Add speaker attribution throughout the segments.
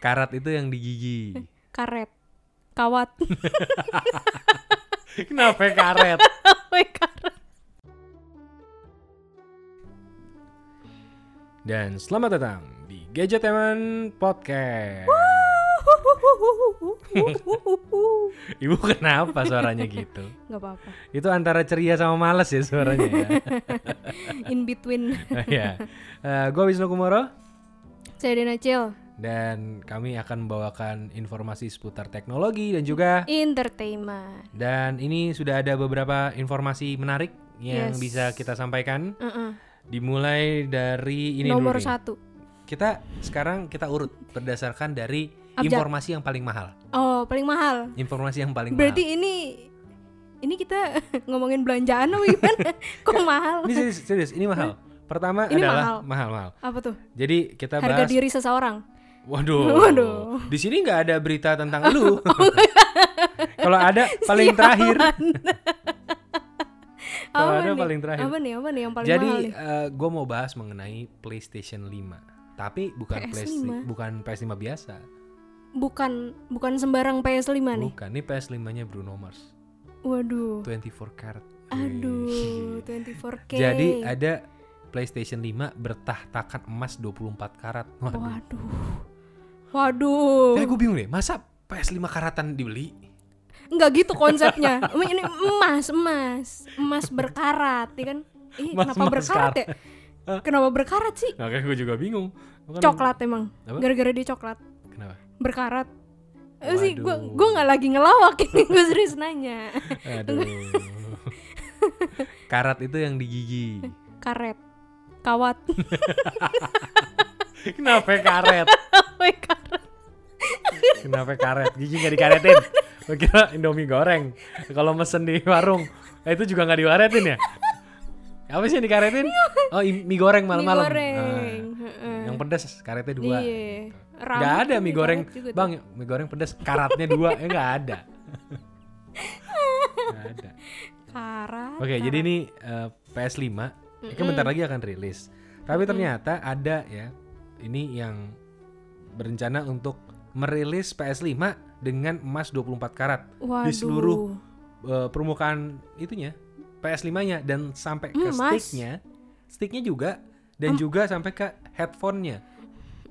Speaker 1: Karat itu yang di gigi.
Speaker 2: karet kawat Oh
Speaker 1: Kenapa karet?
Speaker 2: Woi, karet
Speaker 1: Dan selamat datang di Gadgeteman Podcast. Ibu kenapa suaranya gitu?
Speaker 2: nggak apa-apa
Speaker 1: Itu antara ceria sama males ya suaranya ya.
Speaker 2: in between
Speaker 1: ya. Eh, gua Wisnu Kumoro
Speaker 2: saya Dena Cil
Speaker 1: dan kami akan membawakan informasi seputar teknologi dan juga
Speaker 2: entertainment
Speaker 1: dan ini sudah ada beberapa informasi menarik yang
Speaker 2: Yes.
Speaker 1: bisa kita sampaikan
Speaker 2: Heeh.
Speaker 1: dimulai dari ini
Speaker 2: nomor
Speaker 1: dulu nih.
Speaker 2: satu
Speaker 1: Kita sekarang kita urut berdasarkan dari
Speaker 2: Abjad.
Speaker 1: informasi yang paling mahal.
Speaker 2: oh paling mahal
Speaker 1: Informasi yang paling
Speaker 2: berarti ini ini kita ngomongin belanjaan apa gimana kok mahal
Speaker 1: mahal. Ini serius, serius, ini mahal. Pertama
Speaker 2: Ini
Speaker 1: adalah mahal-mahal.
Speaker 2: apa tuh
Speaker 1: Jadi kita
Speaker 2: harga
Speaker 1: bahas
Speaker 2: diri seseorang
Speaker 1: Waduh.
Speaker 2: Waduh. Oh, iya.
Speaker 1: Di sini nggak ada berita tentang lu. Kalau ada paling terakhir. Kalau
Speaker 2: Apa
Speaker 1: ada
Speaker 2: nih?
Speaker 1: paling terakhir.
Speaker 2: apa nih apa nih yang paling
Speaker 1: Jadi
Speaker 2: mahal nih?
Speaker 1: gue mau bahas mengenai PlayStation 5. Tapi bukan
Speaker 2: PS5.
Speaker 1: PlayStation, bukan PS5 biasa.
Speaker 2: bukan bukan sembarang PS5 nih
Speaker 1: Bukan, ini PS5-nya Bruno Mars.
Speaker 2: waduh
Speaker 1: 24 karat.
Speaker 2: aduh 24k
Speaker 1: Jadi ada PlayStation 5 bertahtakan emas 24 karat. Waduh.
Speaker 2: waduh waduh
Speaker 1: Tapi gue Nah, bingung deh, masa PS5 karatan dibeli?
Speaker 2: nggak gitu konsepnya Em, ini emas emas emas berkarat ya kan Ih,
Speaker 1: Emas-
Speaker 2: kenapa
Speaker 1: emas
Speaker 2: berkarat ya
Speaker 1: Hah?
Speaker 2: kenapa berkarat sih
Speaker 1: Nah, kan gue juga bingung. Kan-
Speaker 2: coklat emang
Speaker 1: Apa?
Speaker 2: gara-gara dia coklat
Speaker 1: Kenapa?
Speaker 2: berkarat Eh, sih gue
Speaker 1: Waduh.
Speaker 2: gue nggak lagi ngelawak ini gue serius nanya
Speaker 1: Aduh. karat itu yang di gigi.
Speaker 2: karet kawat
Speaker 1: Kenapa karet?
Speaker 2: Woi, karet
Speaker 1: Kenapa karet? Gigi nggak dikaretin. Lo kira Indomie goreng. Kalau mesen di warung, eh, itu juga nggak diwaretin ya? Apa sih yang dikaretin? Oh, i- mie goreng
Speaker 2: mie
Speaker 1: malam-malam.
Speaker 2: goreng
Speaker 1: Ah,
Speaker 2: Heeh.
Speaker 1: yang pedas karetnya dua.
Speaker 2: iya Rambut
Speaker 1: Gak ada
Speaker 2: kan
Speaker 1: mie
Speaker 2: dikaret
Speaker 1: goreng,
Speaker 2: juga tuh.
Speaker 1: bang. Mie goreng pedas, karatnya dua, ya nggak ada. Nggak ada.
Speaker 2: karat
Speaker 1: Oke, jadi ini eh, PS5 ini kan bentar lagi akan rilis. Tapi ternyata ada ya ini yang berencana untuk merilis PS5 dengan emas 24 karat
Speaker 2: Waduh.
Speaker 1: di seluruh eh, permukaan itunya PS5-nya dan sampai ke
Speaker 2: Hmm, Emas.
Speaker 1: sticknya, sticknya juga dan juga sampai ke headphone-nya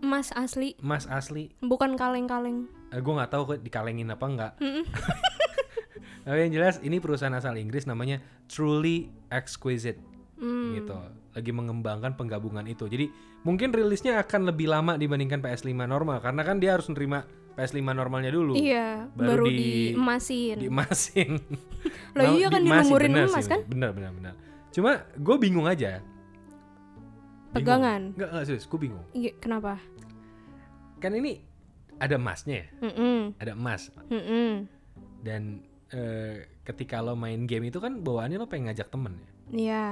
Speaker 2: emas asli
Speaker 1: emas asli.
Speaker 2: bukan kaleng-kaleng
Speaker 1: Eh, gue nggak tahu kok dikalengin apa enggak.
Speaker 2: Mm-mm.
Speaker 1: Tapi yang jelas ini perusahaan asal Inggris namanya Truly Exquisite.
Speaker 2: Hmm.
Speaker 1: gitu lagi mengembangkan penggabungan itu jadi mungkin rilisnya akan lebih lama dibandingkan PS5 normal karena kan dia harus nerima PS5 normalnya dulu
Speaker 2: Iya,
Speaker 1: Baru
Speaker 2: baru,
Speaker 1: di-
Speaker 2: diemasin.
Speaker 1: diemasin Mau
Speaker 2: Lah iya kan
Speaker 1: diemasin,
Speaker 2: dilumurin
Speaker 1: bener
Speaker 2: emas
Speaker 1: sih,
Speaker 2: kan?
Speaker 1: bener bener bener cuma gue bingung aja
Speaker 2: Pegangan.
Speaker 1: Enggak, enggak serius, gue bingung
Speaker 2: Iya, kenapa?
Speaker 1: Kan ini ada emasnya ya,
Speaker 2: Mm-mm,
Speaker 1: ada emas
Speaker 2: mm-mm.
Speaker 1: Dan eh, ketika lo main game itu kan bawaannya lo pengen ngajak temen ya
Speaker 2: Iya.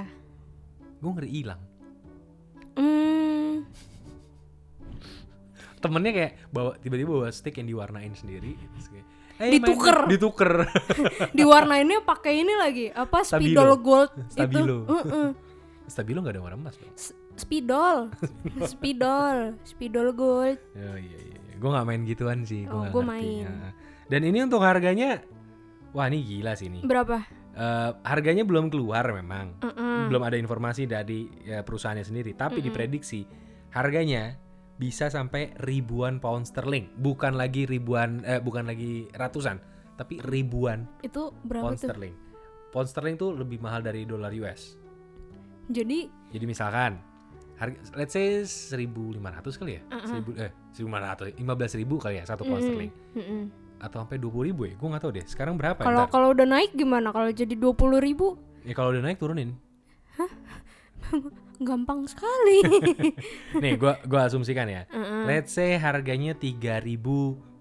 Speaker 1: Gue ngeri hilang
Speaker 2: Mm,
Speaker 1: Temennya kayak bawa tiba-tiba bawa stick yang diwarnain sendiri terus kayak, "Eh, main nih."
Speaker 2: Dituker.
Speaker 1: Dituker
Speaker 2: diwarnainnya pakai ini lagi, apa
Speaker 1: Stabilo.
Speaker 2: spidol gold
Speaker 1: Stabilo.
Speaker 2: itu. Mm-mm.
Speaker 1: Stabilo gak ada warna emas dong
Speaker 2: S- Spidol. spidol, spidol gold.
Speaker 1: Oh iya iya, gue nggak main gituan sih, gue
Speaker 2: Oh,
Speaker 1: nggak
Speaker 2: gua
Speaker 1: ngerti.
Speaker 2: main.
Speaker 1: Ya. Dan ini untuk harganya, wah ini gila sih ini.
Speaker 2: Berapa?
Speaker 1: Eh, harganya belum keluar memang,
Speaker 2: Mm-mm.
Speaker 1: belum ada informasi dari ya, perusahaannya sendiri, tapi
Speaker 2: Mm-mm.
Speaker 1: diprediksi harganya bisa sampai ribuan pound sterling, bukan lagi ribuan, eh, bukan lagi ratusan, tapi ribuan
Speaker 2: Itu berapa
Speaker 1: pound
Speaker 2: tuh?
Speaker 1: sterling. Pound sterling tuh lebih mahal dari dolar US.
Speaker 2: Jadi
Speaker 1: Jadi misalkan harga let's say 1500 kali ya?
Speaker 2: Uh-uh.
Speaker 1: 1000 eh 1500, 15.000 kali ya satu pound
Speaker 2: mm-mm,
Speaker 1: sterling
Speaker 2: mm-mm.
Speaker 1: atau sampai 20.000 ya? Gue nggak tahu deh. Sekarang berapa ya?
Speaker 2: Kalau kalau udah naik gimana? Kalau jadi 20.000 ribu
Speaker 1: Ya kalau udah naik turunin.
Speaker 2: gampang sekali.
Speaker 1: Nih, gua gua asumsikan ya.
Speaker 2: Mm-mm,
Speaker 1: Let's say harganya 3000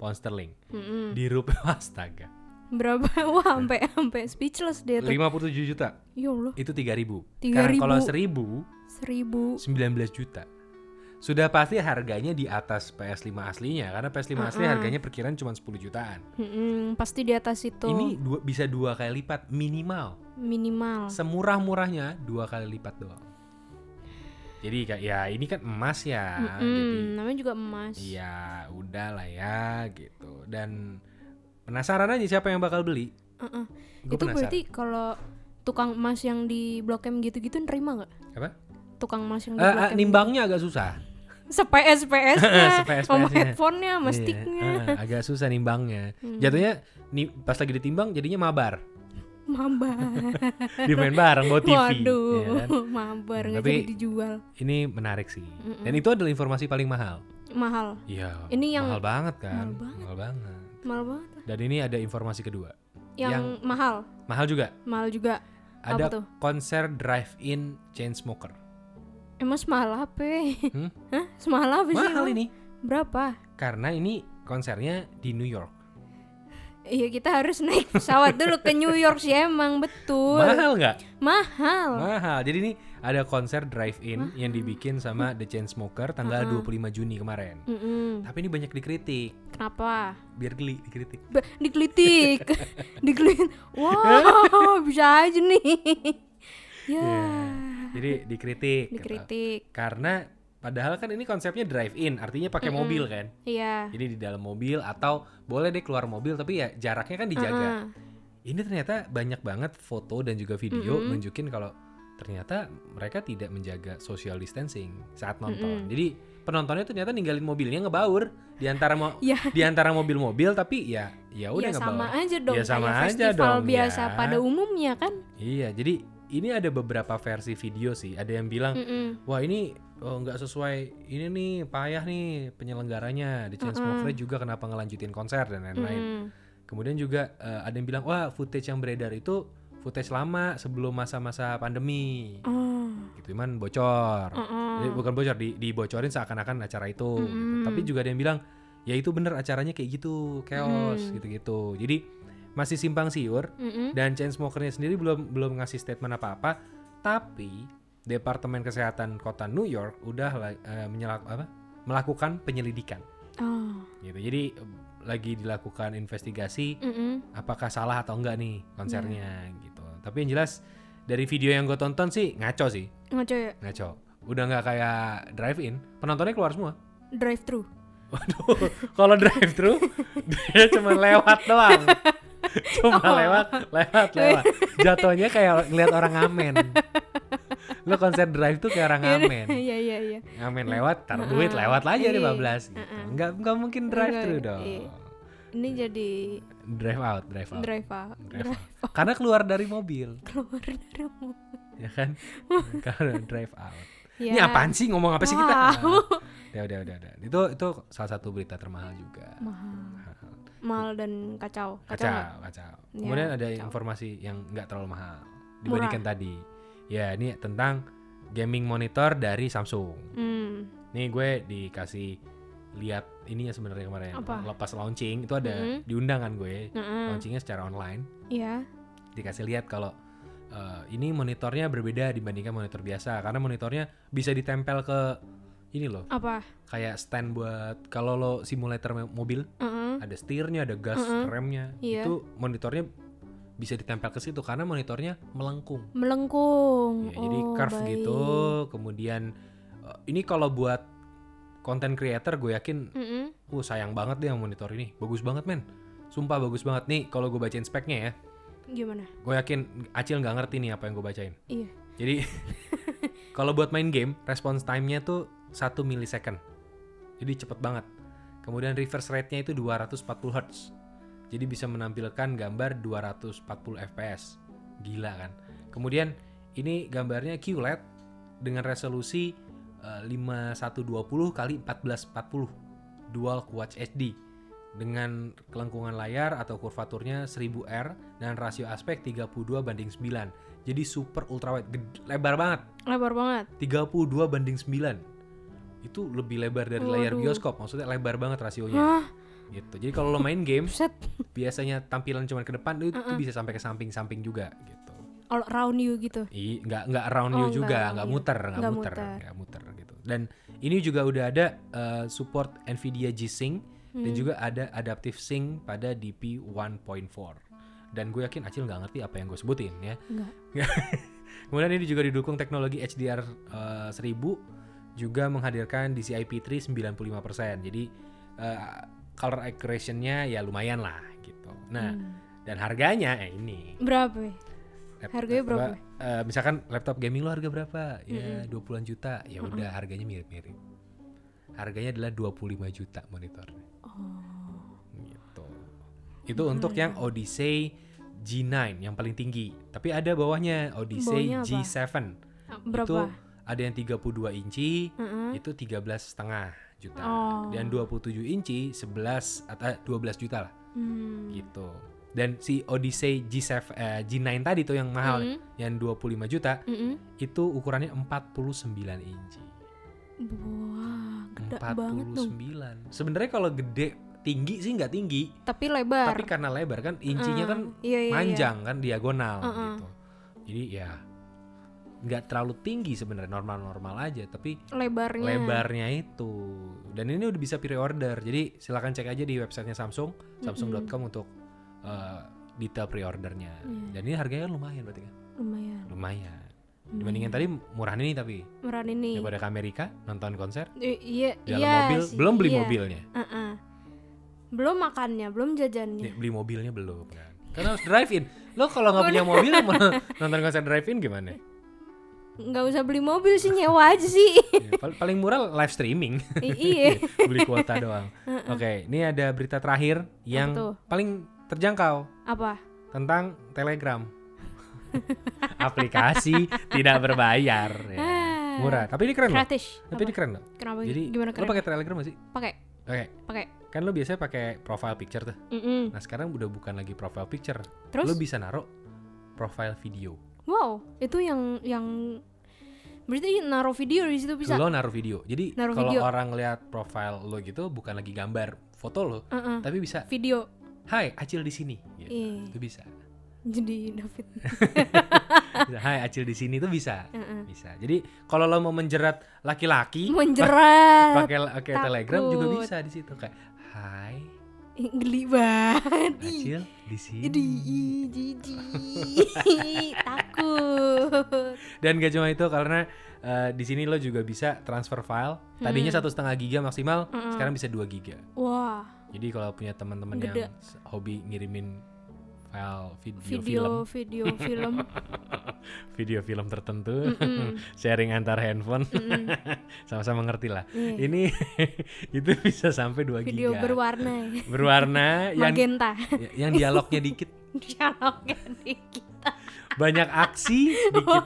Speaker 1: pound sterling.
Speaker 2: mm-mm.
Speaker 1: Di rupiah astaga.
Speaker 2: Berapa? Wah, sampai sampai speechless dia Iya, tuh.
Speaker 1: 57 juta.
Speaker 2: Ya Allah,
Speaker 1: Itu 3000.
Speaker 2: 3.000.
Speaker 1: Karena kalau 1000
Speaker 2: seribu.
Speaker 1: 19 juta. Sudah pasti harganya di atas PS5 aslinya karena PS5 asli harganya perkiraan cuma 10 jutaan.
Speaker 2: Mm-mm, pasti di atas itu
Speaker 1: Ini dua, bisa dua kali lipat minimal.
Speaker 2: minimal.
Speaker 1: Semurah-murahnya dua kali lipat doang. Jadi kayak ya ini kan emas ya. Jadi
Speaker 2: Mm, namanya juga emas.
Speaker 1: ya udahlah ya gitu. Dan penasaran aja siapa yang bakal beli.
Speaker 2: Uh-uh.
Speaker 1: Gue
Speaker 2: Itu
Speaker 1: penasaran.
Speaker 2: berarti kalau tukang emas yang di Blok M gitu-gitu nerima nggak?
Speaker 1: Apa?
Speaker 2: Tukang emas yang di
Speaker 1: Eh, eh,
Speaker 2: Blok M.
Speaker 1: nimbangnya agak susah.
Speaker 2: Seps PS-nya,
Speaker 1: Seps-PS-nya.
Speaker 2: Eh, sama headphone-nya, sama
Speaker 1: Iya,
Speaker 2: stick-nya. Hmm.
Speaker 1: eh, agak susah nimbangnya.
Speaker 2: Mm.
Speaker 1: Jatuhnya nih pas lagi ditimbang jadinya mabar.
Speaker 2: Mabar.
Speaker 1: Dimain bareng bawa TV.
Speaker 2: Waduh,
Speaker 1: ya kan?
Speaker 2: mabar nggak
Speaker 1: Tapi-
Speaker 2: jadi dijual.
Speaker 1: Ini menarik sih. Dan itu adalah informasi paling mahal.
Speaker 2: Mahal.
Speaker 1: Iya.
Speaker 2: Ini yang-
Speaker 1: mahal banget kan?
Speaker 2: mahal banget.
Speaker 1: Mahal banget.
Speaker 2: Mahal banget.
Speaker 1: Dan ini ada informasi kedua.
Speaker 2: Yang,
Speaker 1: Yang-
Speaker 2: mahal.
Speaker 1: Mahal juga.
Speaker 2: Mahal juga.
Speaker 1: Ada
Speaker 2: Apa tuh?
Speaker 1: konser drive-in Chainsmoker.
Speaker 2: Emang semahal apa?
Speaker 1: Hmm?
Speaker 2: Hah? Semahal apa sih?
Speaker 1: Mahal
Speaker 2: emang?
Speaker 1: ini
Speaker 2: Berapa?
Speaker 1: karena ini konsernya di New York.
Speaker 2: Iya kita harus naik pesawat dulu ke New York sih emang betul.
Speaker 1: Mahal nggak?
Speaker 2: Mahal.
Speaker 1: Mahal. Jadi ini ada konser drive-in yang dibikin sama The Chainsmoker tanggal 25 Juni kemarin.
Speaker 2: Mm-mm.
Speaker 1: Tapi ini banyak dikritik.
Speaker 2: Kenapa?
Speaker 1: Biar geli dikritik.
Speaker 2: Ba- digelitik. digelitik. Wow, bisa aja nih. ya.
Speaker 1: Iya. Jadi dikritik. gitu.
Speaker 2: Dikritik.
Speaker 1: Karena padahal kan ini konsepnya drive-in, artinya pakai mobil kan.
Speaker 2: Iya.
Speaker 1: Jadi di dalam mobil atau boleh deh keluar mobil tapi ya jaraknya kan dijaga.
Speaker 2: Heeh.
Speaker 1: Ini ternyata banyak banget foto dan juga video nunjukin kalau ternyata mereka tidak menjaga social distancing saat nonton. Jadi penontonnya ternyata ninggalin mobilnya ngebaur di antara mo-
Speaker 2: Ya.
Speaker 1: di antara mobil-mobil tapi ya ya
Speaker 2: Ya
Speaker 1: udah ngebaur.
Speaker 2: sama aja dong.
Speaker 1: Ya, sama
Speaker 2: kayak
Speaker 1: aja
Speaker 2: festival
Speaker 1: dong,
Speaker 2: biasa
Speaker 1: ya.
Speaker 2: pada umumnya kan.
Speaker 1: Iya, jadi ini ada beberapa versi video sih. Ada yang bilang,
Speaker 2: Mm-mm.
Speaker 1: "Wah, ini oh, nggak sesuai ini nih, payah nih penyelenggaranya. The Chainsmokers juga kenapa ngelanjutin konser dan lain-lain."
Speaker 2: Mm.
Speaker 1: Kemudian juga eh, ada yang bilang, "Wah, footage yang beredar itu footage lama sebelum masa-masa pandemi."
Speaker 2: Oh.
Speaker 1: Gitu, cuman bocor. Jadi
Speaker 2: Mm-mm.
Speaker 1: bukan bocor, di- dibocorin seakan-akan acara itu gitu.
Speaker 2: Mm-mm.
Speaker 1: Tapi juga ada yang bilang, "Ya itu bener acaranya kayak gitu, chaos
Speaker 2: Mm.
Speaker 1: gitu-gitu." Jadi masih simpang siur
Speaker 2: Mm-mm.
Speaker 1: dan Chainsmokernya sendiri belum belum ngasih statement apa-apa tapi Departemen Kesehatan Kota New York udah la- eh, menyelak- apa? melakukan penyelidikan
Speaker 2: Oh.
Speaker 1: gitu jadi eh, lagi dilakukan investigasi
Speaker 2: Mm-mm.
Speaker 1: apakah salah atau enggak nih konsernya
Speaker 2: Iya.
Speaker 1: gitu tapi yang jelas dari video yang gue tonton sih ngaco sih
Speaker 2: Ngaco ya.
Speaker 1: ngaco udah nggak kayak drive in penontonnya keluar semua
Speaker 2: Drive thru.
Speaker 1: waduh kalau drive thru dia cuma lewat doang cuma
Speaker 2: Oh.
Speaker 1: lewat lewat lewat jatuhnya kayak ngeliat orang ngamen lo konser drive tuh kayak orang ngamen
Speaker 2: Iya iya iya.
Speaker 1: ngamen lewat taruh duit lewat lah aja
Speaker 2: Iya.
Speaker 1: 15 gitu nggak nggak mungkin drive thru
Speaker 2: Enggak,
Speaker 1: dong
Speaker 2: iya. Ini jadi
Speaker 1: drive out drive out
Speaker 2: drive out.
Speaker 1: Drive
Speaker 2: Drive
Speaker 1: out. karena keluar dari mobil
Speaker 2: keluar dari rumah.
Speaker 1: ya kan karena drive out
Speaker 2: Ya.
Speaker 1: ini apaan sih ngomong apa sih kita
Speaker 2: Wow.
Speaker 1: ya udah udah udah itu itu salah satu berita termahal juga
Speaker 2: Mahal. Mahal dan kacau. Kacau. nggak?
Speaker 1: kacau kacau
Speaker 2: Ya,
Speaker 1: kemudian ada informasi yang nggak terlalu mahal dibandingkan tadi ya ini tentang gaming monitor dari Samsung
Speaker 2: Hmm.
Speaker 1: nih gue dikasih lihat ini ya sebenarnya kemarin
Speaker 2: Apa? Mm-hmm. Mm.
Speaker 1: lepas launching itu ada
Speaker 2: Mm-mm.
Speaker 1: di undangan gue
Speaker 2: Heeh.
Speaker 1: launchingnya secara online
Speaker 2: Iya.
Speaker 1: dikasih lihat kalau eh, ini monitornya berbeda dibandingkan monitor biasa karena monitornya bisa ditempel ke ini loh
Speaker 2: Apa?
Speaker 1: kayak stand buat kalau lo simulator me- mobil
Speaker 2: Heeh.
Speaker 1: ada setirnya, ada gas remnya.
Speaker 2: Hmm. Iya.
Speaker 1: Itu monitornya bisa ditempel ke situ karena monitornya melengkung.
Speaker 2: Melengkung.
Speaker 1: Ya, jadi
Speaker 2: Oh,
Speaker 1: curve
Speaker 2: baik.
Speaker 1: gitu. Kemudian eh, ini kalau buat konten creator gue yakin,
Speaker 2: Mm-mm.
Speaker 1: uh sayang banget deh yang monitor ini. Bagus banget men. Sumpah bagus banget nih kalau gue bacain speknya ya.
Speaker 2: Gimana?
Speaker 1: Gue yakin Acil nggak ngerti nih apa yang gue bacain.
Speaker 2: Iya.
Speaker 1: Jadi kalau buat main game, response time-nya tuh 1 millisecond. Jadi cepet banget. Kemudian reverse rate-nya itu 240 Hz. Jadi bisa menampilkan gambar 240 fps. Gila kan. Kemudian ini gambarnya QLED dengan resolusi eh, 5120 kali 1440 dual quad HD dengan kelengkungan layar atau kurvaturnya 1000R dan rasio aspek 32 banding 9. Jadi super ultra wide, Ged- lebar banget.
Speaker 2: Lebar banget.
Speaker 1: 32 banding 9. Itu lebih lebar dari layar
Speaker 2: Waduh.
Speaker 1: bioskop, maksudnya lebar banget rasionya.
Speaker 2: Hah?
Speaker 1: Gitu. Jadi kalau lo main game,
Speaker 2: Set.
Speaker 1: biasanya tampilan cuma ke depan itu bisa sampai ke samping-samping juga gitu.
Speaker 2: All around you gitu.
Speaker 1: I, nggak nggak around
Speaker 2: Oh,
Speaker 1: you
Speaker 2: nggak
Speaker 1: juga,
Speaker 2: around
Speaker 1: nggak
Speaker 2: you.
Speaker 1: muter, nggak
Speaker 2: Nggak
Speaker 1: muter,
Speaker 2: muter.
Speaker 1: nggak muter gitu. Dan ini juga udah ada eh, support Nvidia G-Sync dan juga ada adaptive sync pada DP 1.4. Dan gue yakin Acil nggak ngerti apa yang gue sebutin ya.
Speaker 2: Enggak.
Speaker 1: Kemudian ini juga didukung teknologi HDR eh, 1000 juga menghadirkan DCI P3 95%. Jadi eh, color accurationnya ya lumayan lah gitu. Nah, dan harganya ya ini.
Speaker 2: Berapa? ya?
Speaker 1: Lap-
Speaker 2: Harganya berapa?
Speaker 1: apa, eh, misalkan laptop gaming lo harga berapa? Ya 20-an juta. Ya udah harganya mirip-mirip. Harganya adalah 25 juta monitornya.
Speaker 2: Oh.
Speaker 1: Gitu. Itu untuk yang Odyssey G9 yang paling tinggi. Tapi ada bawahnya Odyssey
Speaker 2: Bawahnya apa?
Speaker 1: G7. Itu
Speaker 2: Berapa?
Speaker 1: ada yang 32 inci,
Speaker 2: Mm-mm.
Speaker 1: itu 13 setengah juta.
Speaker 2: Oh.
Speaker 1: Dan 27 inci 11 atau 12 juta lah
Speaker 2: Hmm.
Speaker 1: gitu. Dan si Odyssey G7 eh, G9 tadi tuh yang mahal
Speaker 2: Mm.
Speaker 1: yang 25 juta
Speaker 2: Mm-mm.
Speaker 1: itu ukurannya 49 inci.
Speaker 2: Wah, gede banget dong.
Speaker 1: 49. Sebenarnya kalau gede tinggi sih nggak tinggi,
Speaker 2: Tapi lebar.
Speaker 1: tapi karena lebar kan incinya kan
Speaker 2: iya, iya, iya.
Speaker 1: panjang kan diagonal
Speaker 2: Uh-uh.
Speaker 1: gitu. Jadi ya nggak terlalu tinggi sebenarnya normal-normal aja, tapi
Speaker 2: lebarnya.
Speaker 1: lebarnya itu dan ini udah bisa pre-order jadi silakan cek aja di websitenya Samsung samsung.com untuk eh, detail pre-ordernya
Speaker 2: Iya.
Speaker 1: dan ini harganya kan lumayan berarti kan
Speaker 2: Lumayan.
Speaker 1: lumayan dibandingin tadi murahan ini tapi
Speaker 2: Murah ini.
Speaker 1: daripada ke Amerika nonton konser
Speaker 2: I- Iya,
Speaker 1: dalam
Speaker 2: iya
Speaker 1: mobil
Speaker 2: sih,
Speaker 1: belum beli
Speaker 2: iya.
Speaker 1: mobilnya
Speaker 2: Uh-uh. Belum makannya, belum
Speaker 1: Nih,
Speaker 2: jajannya.
Speaker 1: beli mobilnya belum kan karena harus drive in lo kalau nggak punya mobil mau nonton konser drive in gimana
Speaker 2: nggak usah beli mobil sih nyewa aja sih
Speaker 1: Ya, pal- paling murah live streaming
Speaker 2: I- iya
Speaker 1: beli kuota doang oke ini ada berita terakhir yang
Speaker 2: tuh?
Speaker 1: paling terjangkau
Speaker 2: apa
Speaker 1: tentang Telegram. Aplikasi tidak berbayar, ya.
Speaker 2: Ah.
Speaker 1: murah. Tapi ini keren loh.
Speaker 2: gratis
Speaker 1: Tapi ini keren loh.
Speaker 2: kenapa
Speaker 1: Jadi
Speaker 2: gimana
Speaker 1: lo
Speaker 2: keren
Speaker 1: pakai Telegram gak sih?
Speaker 2: pakai
Speaker 1: Oke,
Speaker 2: pakai
Speaker 1: kan lo biasanya pakai profile picture tuh. Nah
Speaker 2: Mm-mm.
Speaker 1: sekarang udah bukan lagi profile picture.
Speaker 2: terus
Speaker 1: Lo bisa naruh profile video.
Speaker 2: wow itu yang yang berarti naruh video di situ bisa
Speaker 1: Lo naruh video. Jadi
Speaker 2: Naruh
Speaker 1: kalau
Speaker 2: video.
Speaker 1: orang lihat profile lo gitu bukan lagi gambar foto lo,
Speaker 2: Uh-uh.
Speaker 1: tapi bisa,
Speaker 2: video
Speaker 1: Hai Acil di sini. Gitu.
Speaker 2: Iya.
Speaker 1: Itu bisa.
Speaker 2: jadi David
Speaker 1: Bisa, Hai Acil di sini itu bisa. Bisa. Jadi kalau lo mau menjerat laki-laki,
Speaker 2: menjerat
Speaker 1: pakai pakai
Speaker 2: takut.
Speaker 1: telegram juga bisa di situ kayak hai
Speaker 2: Ih, geli banget Ih,
Speaker 1: Acil di sini
Speaker 2: jadi ih, jijik takut
Speaker 1: dan gak cuma itu karena eh, di sini lo juga bisa transfer file tadinya satu setengah giga maksimal sekarang bisa 2 giga
Speaker 2: wah
Speaker 1: jadi kalau punya teman-teman
Speaker 2: Gede.
Speaker 1: yang s- hobi ngirimin file video, film
Speaker 2: video video film
Speaker 1: video film tertentu sharing antar handphone sama-sama ngerti lah
Speaker 2: Iya.
Speaker 1: ini itu bisa sampai 2
Speaker 2: video
Speaker 1: giga
Speaker 2: berwarna ya.
Speaker 1: berwarna yang ya,
Speaker 2: magenta
Speaker 1: yang dialognya dikit
Speaker 2: dialognya dikit
Speaker 1: banyak aksi dikit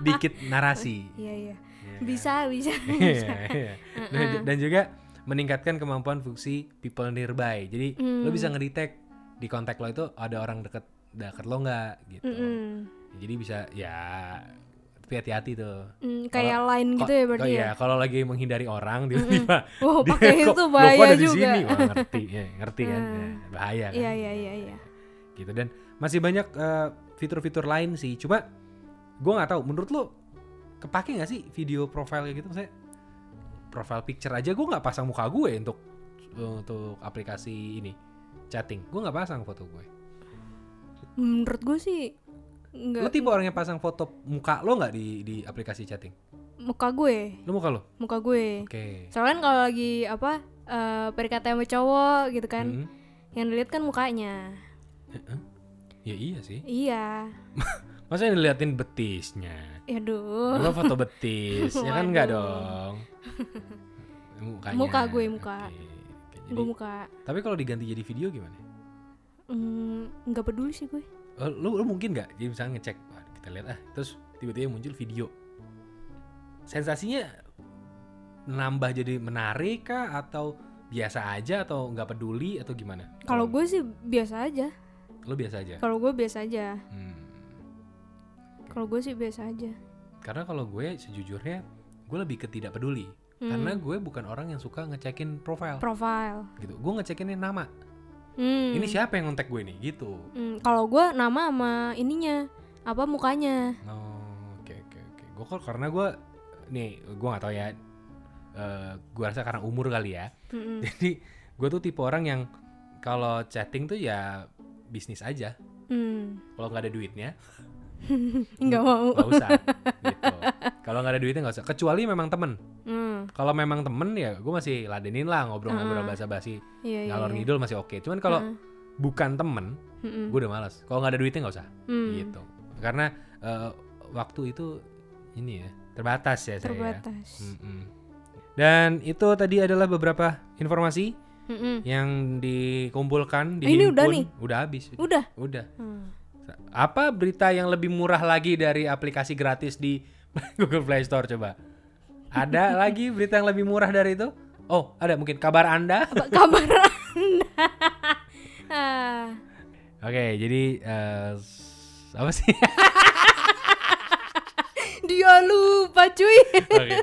Speaker 1: dikit narasi
Speaker 2: iya iya
Speaker 1: Iya.
Speaker 2: bisa bisa
Speaker 1: Iya, iya. Dan ju- dan juga meningkatkan kemampuan fungsi people nearby jadi lo
Speaker 2: Mm.
Speaker 1: bisa ngedetect di kontak lo itu ada orang deket deket lo nggak gitu
Speaker 2: Mm-mm.
Speaker 1: jadi bisa ya tapi hati-hati tuh
Speaker 2: Mm, kayak lain gitu
Speaker 1: Ko-
Speaker 2: ya berarti
Speaker 1: iya,
Speaker 2: ya
Speaker 1: kalau lagi menghindari orang tiba-tiba
Speaker 2: Wow,
Speaker 1: dia,
Speaker 2: pakai
Speaker 1: "Kok
Speaker 2: itu
Speaker 1: lo kok
Speaker 2: bahaya
Speaker 1: ada di
Speaker 2: juga." Ah.
Speaker 1: sini Wah, ngerti ya, ngerti kan Ya, bahaya kan
Speaker 2: iya iya iya iya
Speaker 1: gitu dan masih banyak eh, fitur-fitur lain sih cuma gue nggak tahu menurut lo kepake nggak sih video profile kayak gitu maksudnya profile picture aja gue nggak pasang muka gue untuk untuk aplikasi ini chatting gue nggak pasang foto gue
Speaker 2: menurut gue sih
Speaker 1: lo
Speaker 2: nggak iya.
Speaker 1: tipe orang yang pasang foto muka lo nggak di di aplikasi chatting
Speaker 2: muka gue
Speaker 1: lo muka lo
Speaker 2: muka gue
Speaker 1: oke
Speaker 2: soalnya kan kalau lagi apa eh PDKT sama cowok gitu kan
Speaker 1: Mm.
Speaker 2: yang dilihat kan mukanya
Speaker 1: ya iya sih
Speaker 2: iya
Speaker 1: masa yang diliatin betisnya
Speaker 2: ya duh
Speaker 1: lo foto betis ya kan nggak dong Mukanya.
Speaker 2: Muka gue, muka.
Speaker 1: Oke, oke. Jadi-
Speaker 2: gue muka
Speaker 1: Tapi kalau diganti jadi video gimana?
Speaker 2: mm, nggak peduli sih gue
Speaker 1: Eh, Lu, lu mungkin nggak? Jadi misalnya ngecek, "Wah, kita lihat ah, terus tiba-tiba muncul video. Sensasinya nambah jadi menarik kah atau biasa aja atau nggak peduli atau gimana?
Speaker 2: kalau gue sih biasa aja
Speaker 1: lu biasa aja.
Speaker 2: kalau gue biasa aja
Speaker 1: Hmm.
Speaker 2: kalau gue sih biasa aja
Speaker 1: Karena kalau gue sejujurnya gue lebih ke tidak peduli.
Speaker 2: Hmm.
Speaker 1: Karena gue bukan orang yang suka ngecekin profile
Speaker 2: profile
Speaker 1: gitu. Gue ngecekinnya nama.
Speaker 2: Hmm.
Speaker 1: Ini siapa yang kontak gue nih gitu.
Speaker 2: Hmm, kalau gue nama sama ininya apa mukanya
Speaker 1: Oh, oke oke oke. Gue kok karena gue nih gue nggak tahu ya. eh gue rasa karena umur kali ya.
Speaker 2: Mm-mm.
Speaker 1: Jadi gue tuh tipe orang yang kalau chatting tuh ya bisnis aja.
Speaker 2: Hmm.
Speaker 1: Kalau nggak ada duitnya,
Speaker 2: nggak mau
Speaker 1: nggak usah gitu kalau nggak ada duitnya nggak usah kecuali memang temen
Speaker 2: hmm,
Speaker 1: kalau memang temen ya gue masih ladenin lah ngobrol-ngobrol basa-basi
Speaker 2: iya, iya,
Speaker 1: ngalor gitu.
Speaker 2: iya.
Speaker 1: ngidul masih oke cuman kalau
Speaker 2: Heeh.
Speaker 1: bukan temen
Speaker 2: Mm-mm.
Speaker 1: gue udah malas kalau nggak ada duitnya nggak usah
Speaker 2: Hmm,
Speaker 1: gitu karena eh, waktu itu ini ya terbatas ya saya ya.
Speaker 2: terbatas
Speaker 1: Mm-mm. dan itu tadi adalah beberapa informasi
Speaker 2: Mm-mm.
Speaker 1: yang dikumpulkan
Speaker 2: Eh,
Speaker 1: dihimpun.
Speaker 2: ini udah nih?
Speaker 1: udah habis
Speaker 2: udah
Speaker 1: udah
Speaker 2: Hmm.
Speaker 1: apa berita yang lebih murah lagi dari aplikasi gratis di Google Play Store coba ada lagi berita yang lebih murah dari itu oh ada mungkin kabar anda
Speaker 2: Apa kabar anda Ah,
Speaker 1: oke jadi eh, s- apa sih
Speaker 2: dia lupa cuy
Speaker 1: Oke.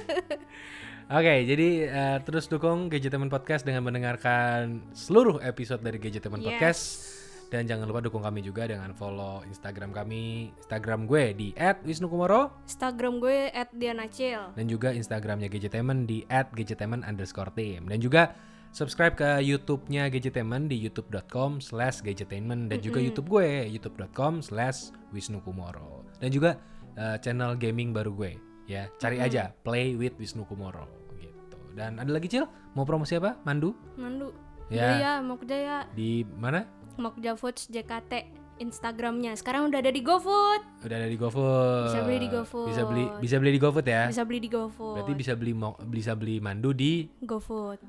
Speaker 1: Oke, jadi eh, terus dukung Gadgetemen Podcast dengan mendengarkan seluruh episode dari Gadgetemen Podcast dan jangan lupa dukung kami juga dengan follow Instagram kami, Instagram gue di @wisnukumoro
Speaker 2: Instagram gue @dianacil.
Speaker 1: dan juga Instagramnya Gadgetemen di @gadgetemen underscore team dan juga subscribe ke YouTube-nya Gadgetemen di youtube.com slash gadgetainment dan juga YouTube gue youtube.com slash wisnukumoro dan juga eh, channel gaming baru gue ya cari aja Play with Wisnu Kumoro gitu dan ada lagi Cil mau promosi apa Mandu
Speaker 2: Mandu.
Speaker 1: Ya.
Speaker 2: Ya. ya, mau kerja ya.
Speaker 1: di mana
Speaker 2: Mau kerja Foods JKT Instagramnya. Sekarang udah ada di GoFood.
Speaker 1: udah ada di GoFood
Speaker 2: Bisa beli di GoFood.
Speaker 1: bisa beli bisa beli di GoFood ya
Speaker 2: Bisa beli di GoFood.
Speaker 1: berarti bisa beli mo- bisa beli Mandu di
Speaker 2: GoFood.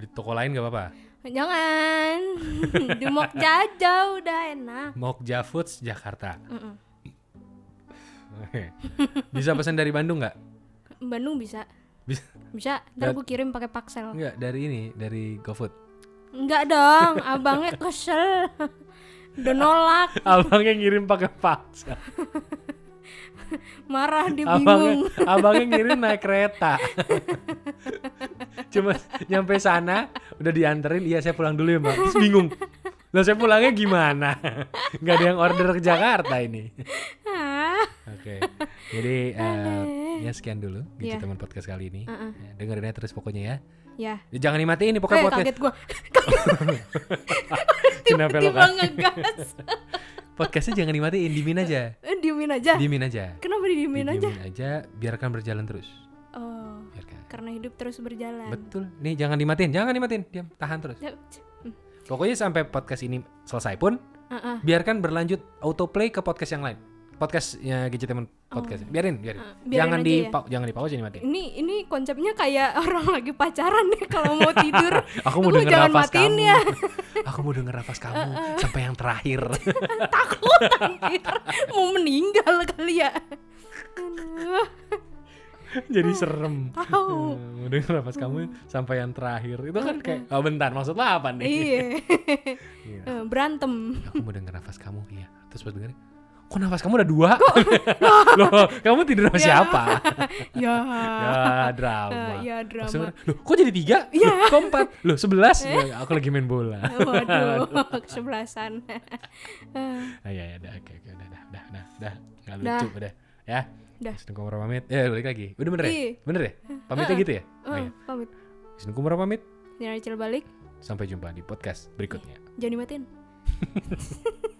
Speaker 1: di toko lain gak apa-apa
Speaker 2: Jangan. di Mokja aja udah enak.
Speaker 1: Mokja Foods Jakarta
Speaker 2: Mm-mm.
Speaker 1: Oke. Bisa pesan dari Bandung nggak?
Speaker 2: Bandung bisa.
Speaker 1: Bisa
Speaker 2: Bisa.
Speaker 1: Dan-
Speaker 2: Ntar gue kirim pakai paksel.
Speaker 1: nggak dari ini dari GoFood.
Speaker 2: Enggak dong, abangnya kesel. Udah nolak,
Speaker 1: Abangnya ngirim pakai paksa.
Speaker 2: marah dia bingung.
Speaker 1: Abangnya, abangnya ngirim naik kereta. Cuma nyampe sana udah dianterin, iya saya pulang dulu ya mbak. Terus bingung. Lah saya pulangnya gimana? Nggak ada yang order ke Jakarta ini.
Speaker 2: Ah.
Speaker 1: Oke. Jadi eh, ya sekian dulu gitu
Speaker 2: Iya.
Speaker 1: teman podcast kali ini.
Speaker 2: Uh-uh.
Speaker 1: Ya, Dengerin aja terus pokoknya ya.
Speaker 2: Ya.
Speaker 1: Ya, Jangan dimatiin nih
Speaker 2: Eh,
Speaker 1: pokoknya podcast.
Speaker 2: kaget gue.
Speaker 1: Kenapa lo
Speaker 2: Tiba-tiba
Speaker 1: kan?
Speaker 2: ngegas.
Speaker 1: Podcastnya jangan dimatiin, dimin aja.
Speaker 2: Eh, diemin aja.
Speaker 1: Dimin aja.
Speaker 2: Kenapa didiemin aja?
Speaker 1: Didiemin aja, biarkan berjalan terus.
Speaker 2: Oh,
Speaker 1: Biarkan.
Speaker 2: karena hidup terus berjalan.
Speaker 1: Betul. Nih jangan dimatiin, jangan dimatiin. Diam, tahan terus.
Speaker 2: Ya, hmm,
Speaker 1: Pokoknya sampai podcast ini selesai pun,
Speaker 2: ah, ah.
Speaker 1: biarkan berlanjut autoplay ke podcast yang lain. Podcastnya Gadgetemen podcast. Biarin, biarin.
Speaker 2: Ah, biarin
Speaker 1: jangan
Speaker 2: aja
Speaker 1: di
Speaker 2: ya.
Speaker 1: pa- jangan di pause, jangan dimatiin.
Speaker 2: Ini ini konsepnya kayak orang lagi pacaran deh kalau mau tidur.
Speaker 1: Aku mau
Speaker 2: Lu
Speaker 1: denger
Speaker 2: jangan
Speaker 1: nafas
Speaker 2: matiin
Speaker 1: kamu.
Speaker 2: ya. Ah,
Speaker 1: Aku mau denger nafas kamu sampai yang terakhir.
Speaker 2: Takut anjir. mau meninggal kali ya. Aduh,
Speaker 1: Jadi serem.
Speaker 2: Tahu.
Speaker 1: Eh, Mau denger nafas
Speaker 2: Hmm.
Speaker 1: kamu sampai yang terakhir. Itu kan kayak oh bentar, maksudnya apa nih?
Speaker 2: iya.
Speaker 1: Iya.
Speaker 2: Eh, Berantem.
Speaker 1: aku mau denger nafas kamu iya terus pas dengerin kok nafas kamu ada dua loh kamu tidur sama
Speaker 2: Ya.
Speaker 1: siapa
Speaker 2: Ya.
Speaker 1: ya drama
Speaker 2: Eh, ya, drama.
Speaker 1: Pas denger, loh kok jadi tiga
Speaker 2: Iya.
Speaker 1: Loh, kok empat loh sebelas Ya, aku lagi main bola
Speaker 2: Waduh, kesebelasan. Eh,
Speaker 1: ah, ya ya udah oke oke udah udah udah udah udah nggak
Speaker 2: Dah.
Speaker 1: lucu udah ya
Speaker 2: Dah.
Speaker 1: Wisnu Kumoro pamit ya balik lagi udah bener ya
Speaker 2: Iya.
Speaker 1: bener ya pamitnya gitu ya oh,
Speaker 2: eh,
Speaker 1: iya.
Speaker 2: pamit.
Speaker 1: Wisnu Kumoro pamit
Speaker 2: Nyari balik,
Speaker 1: sampai jumpa di podcast berikutnya
Speaker 2: jangan dimatiin.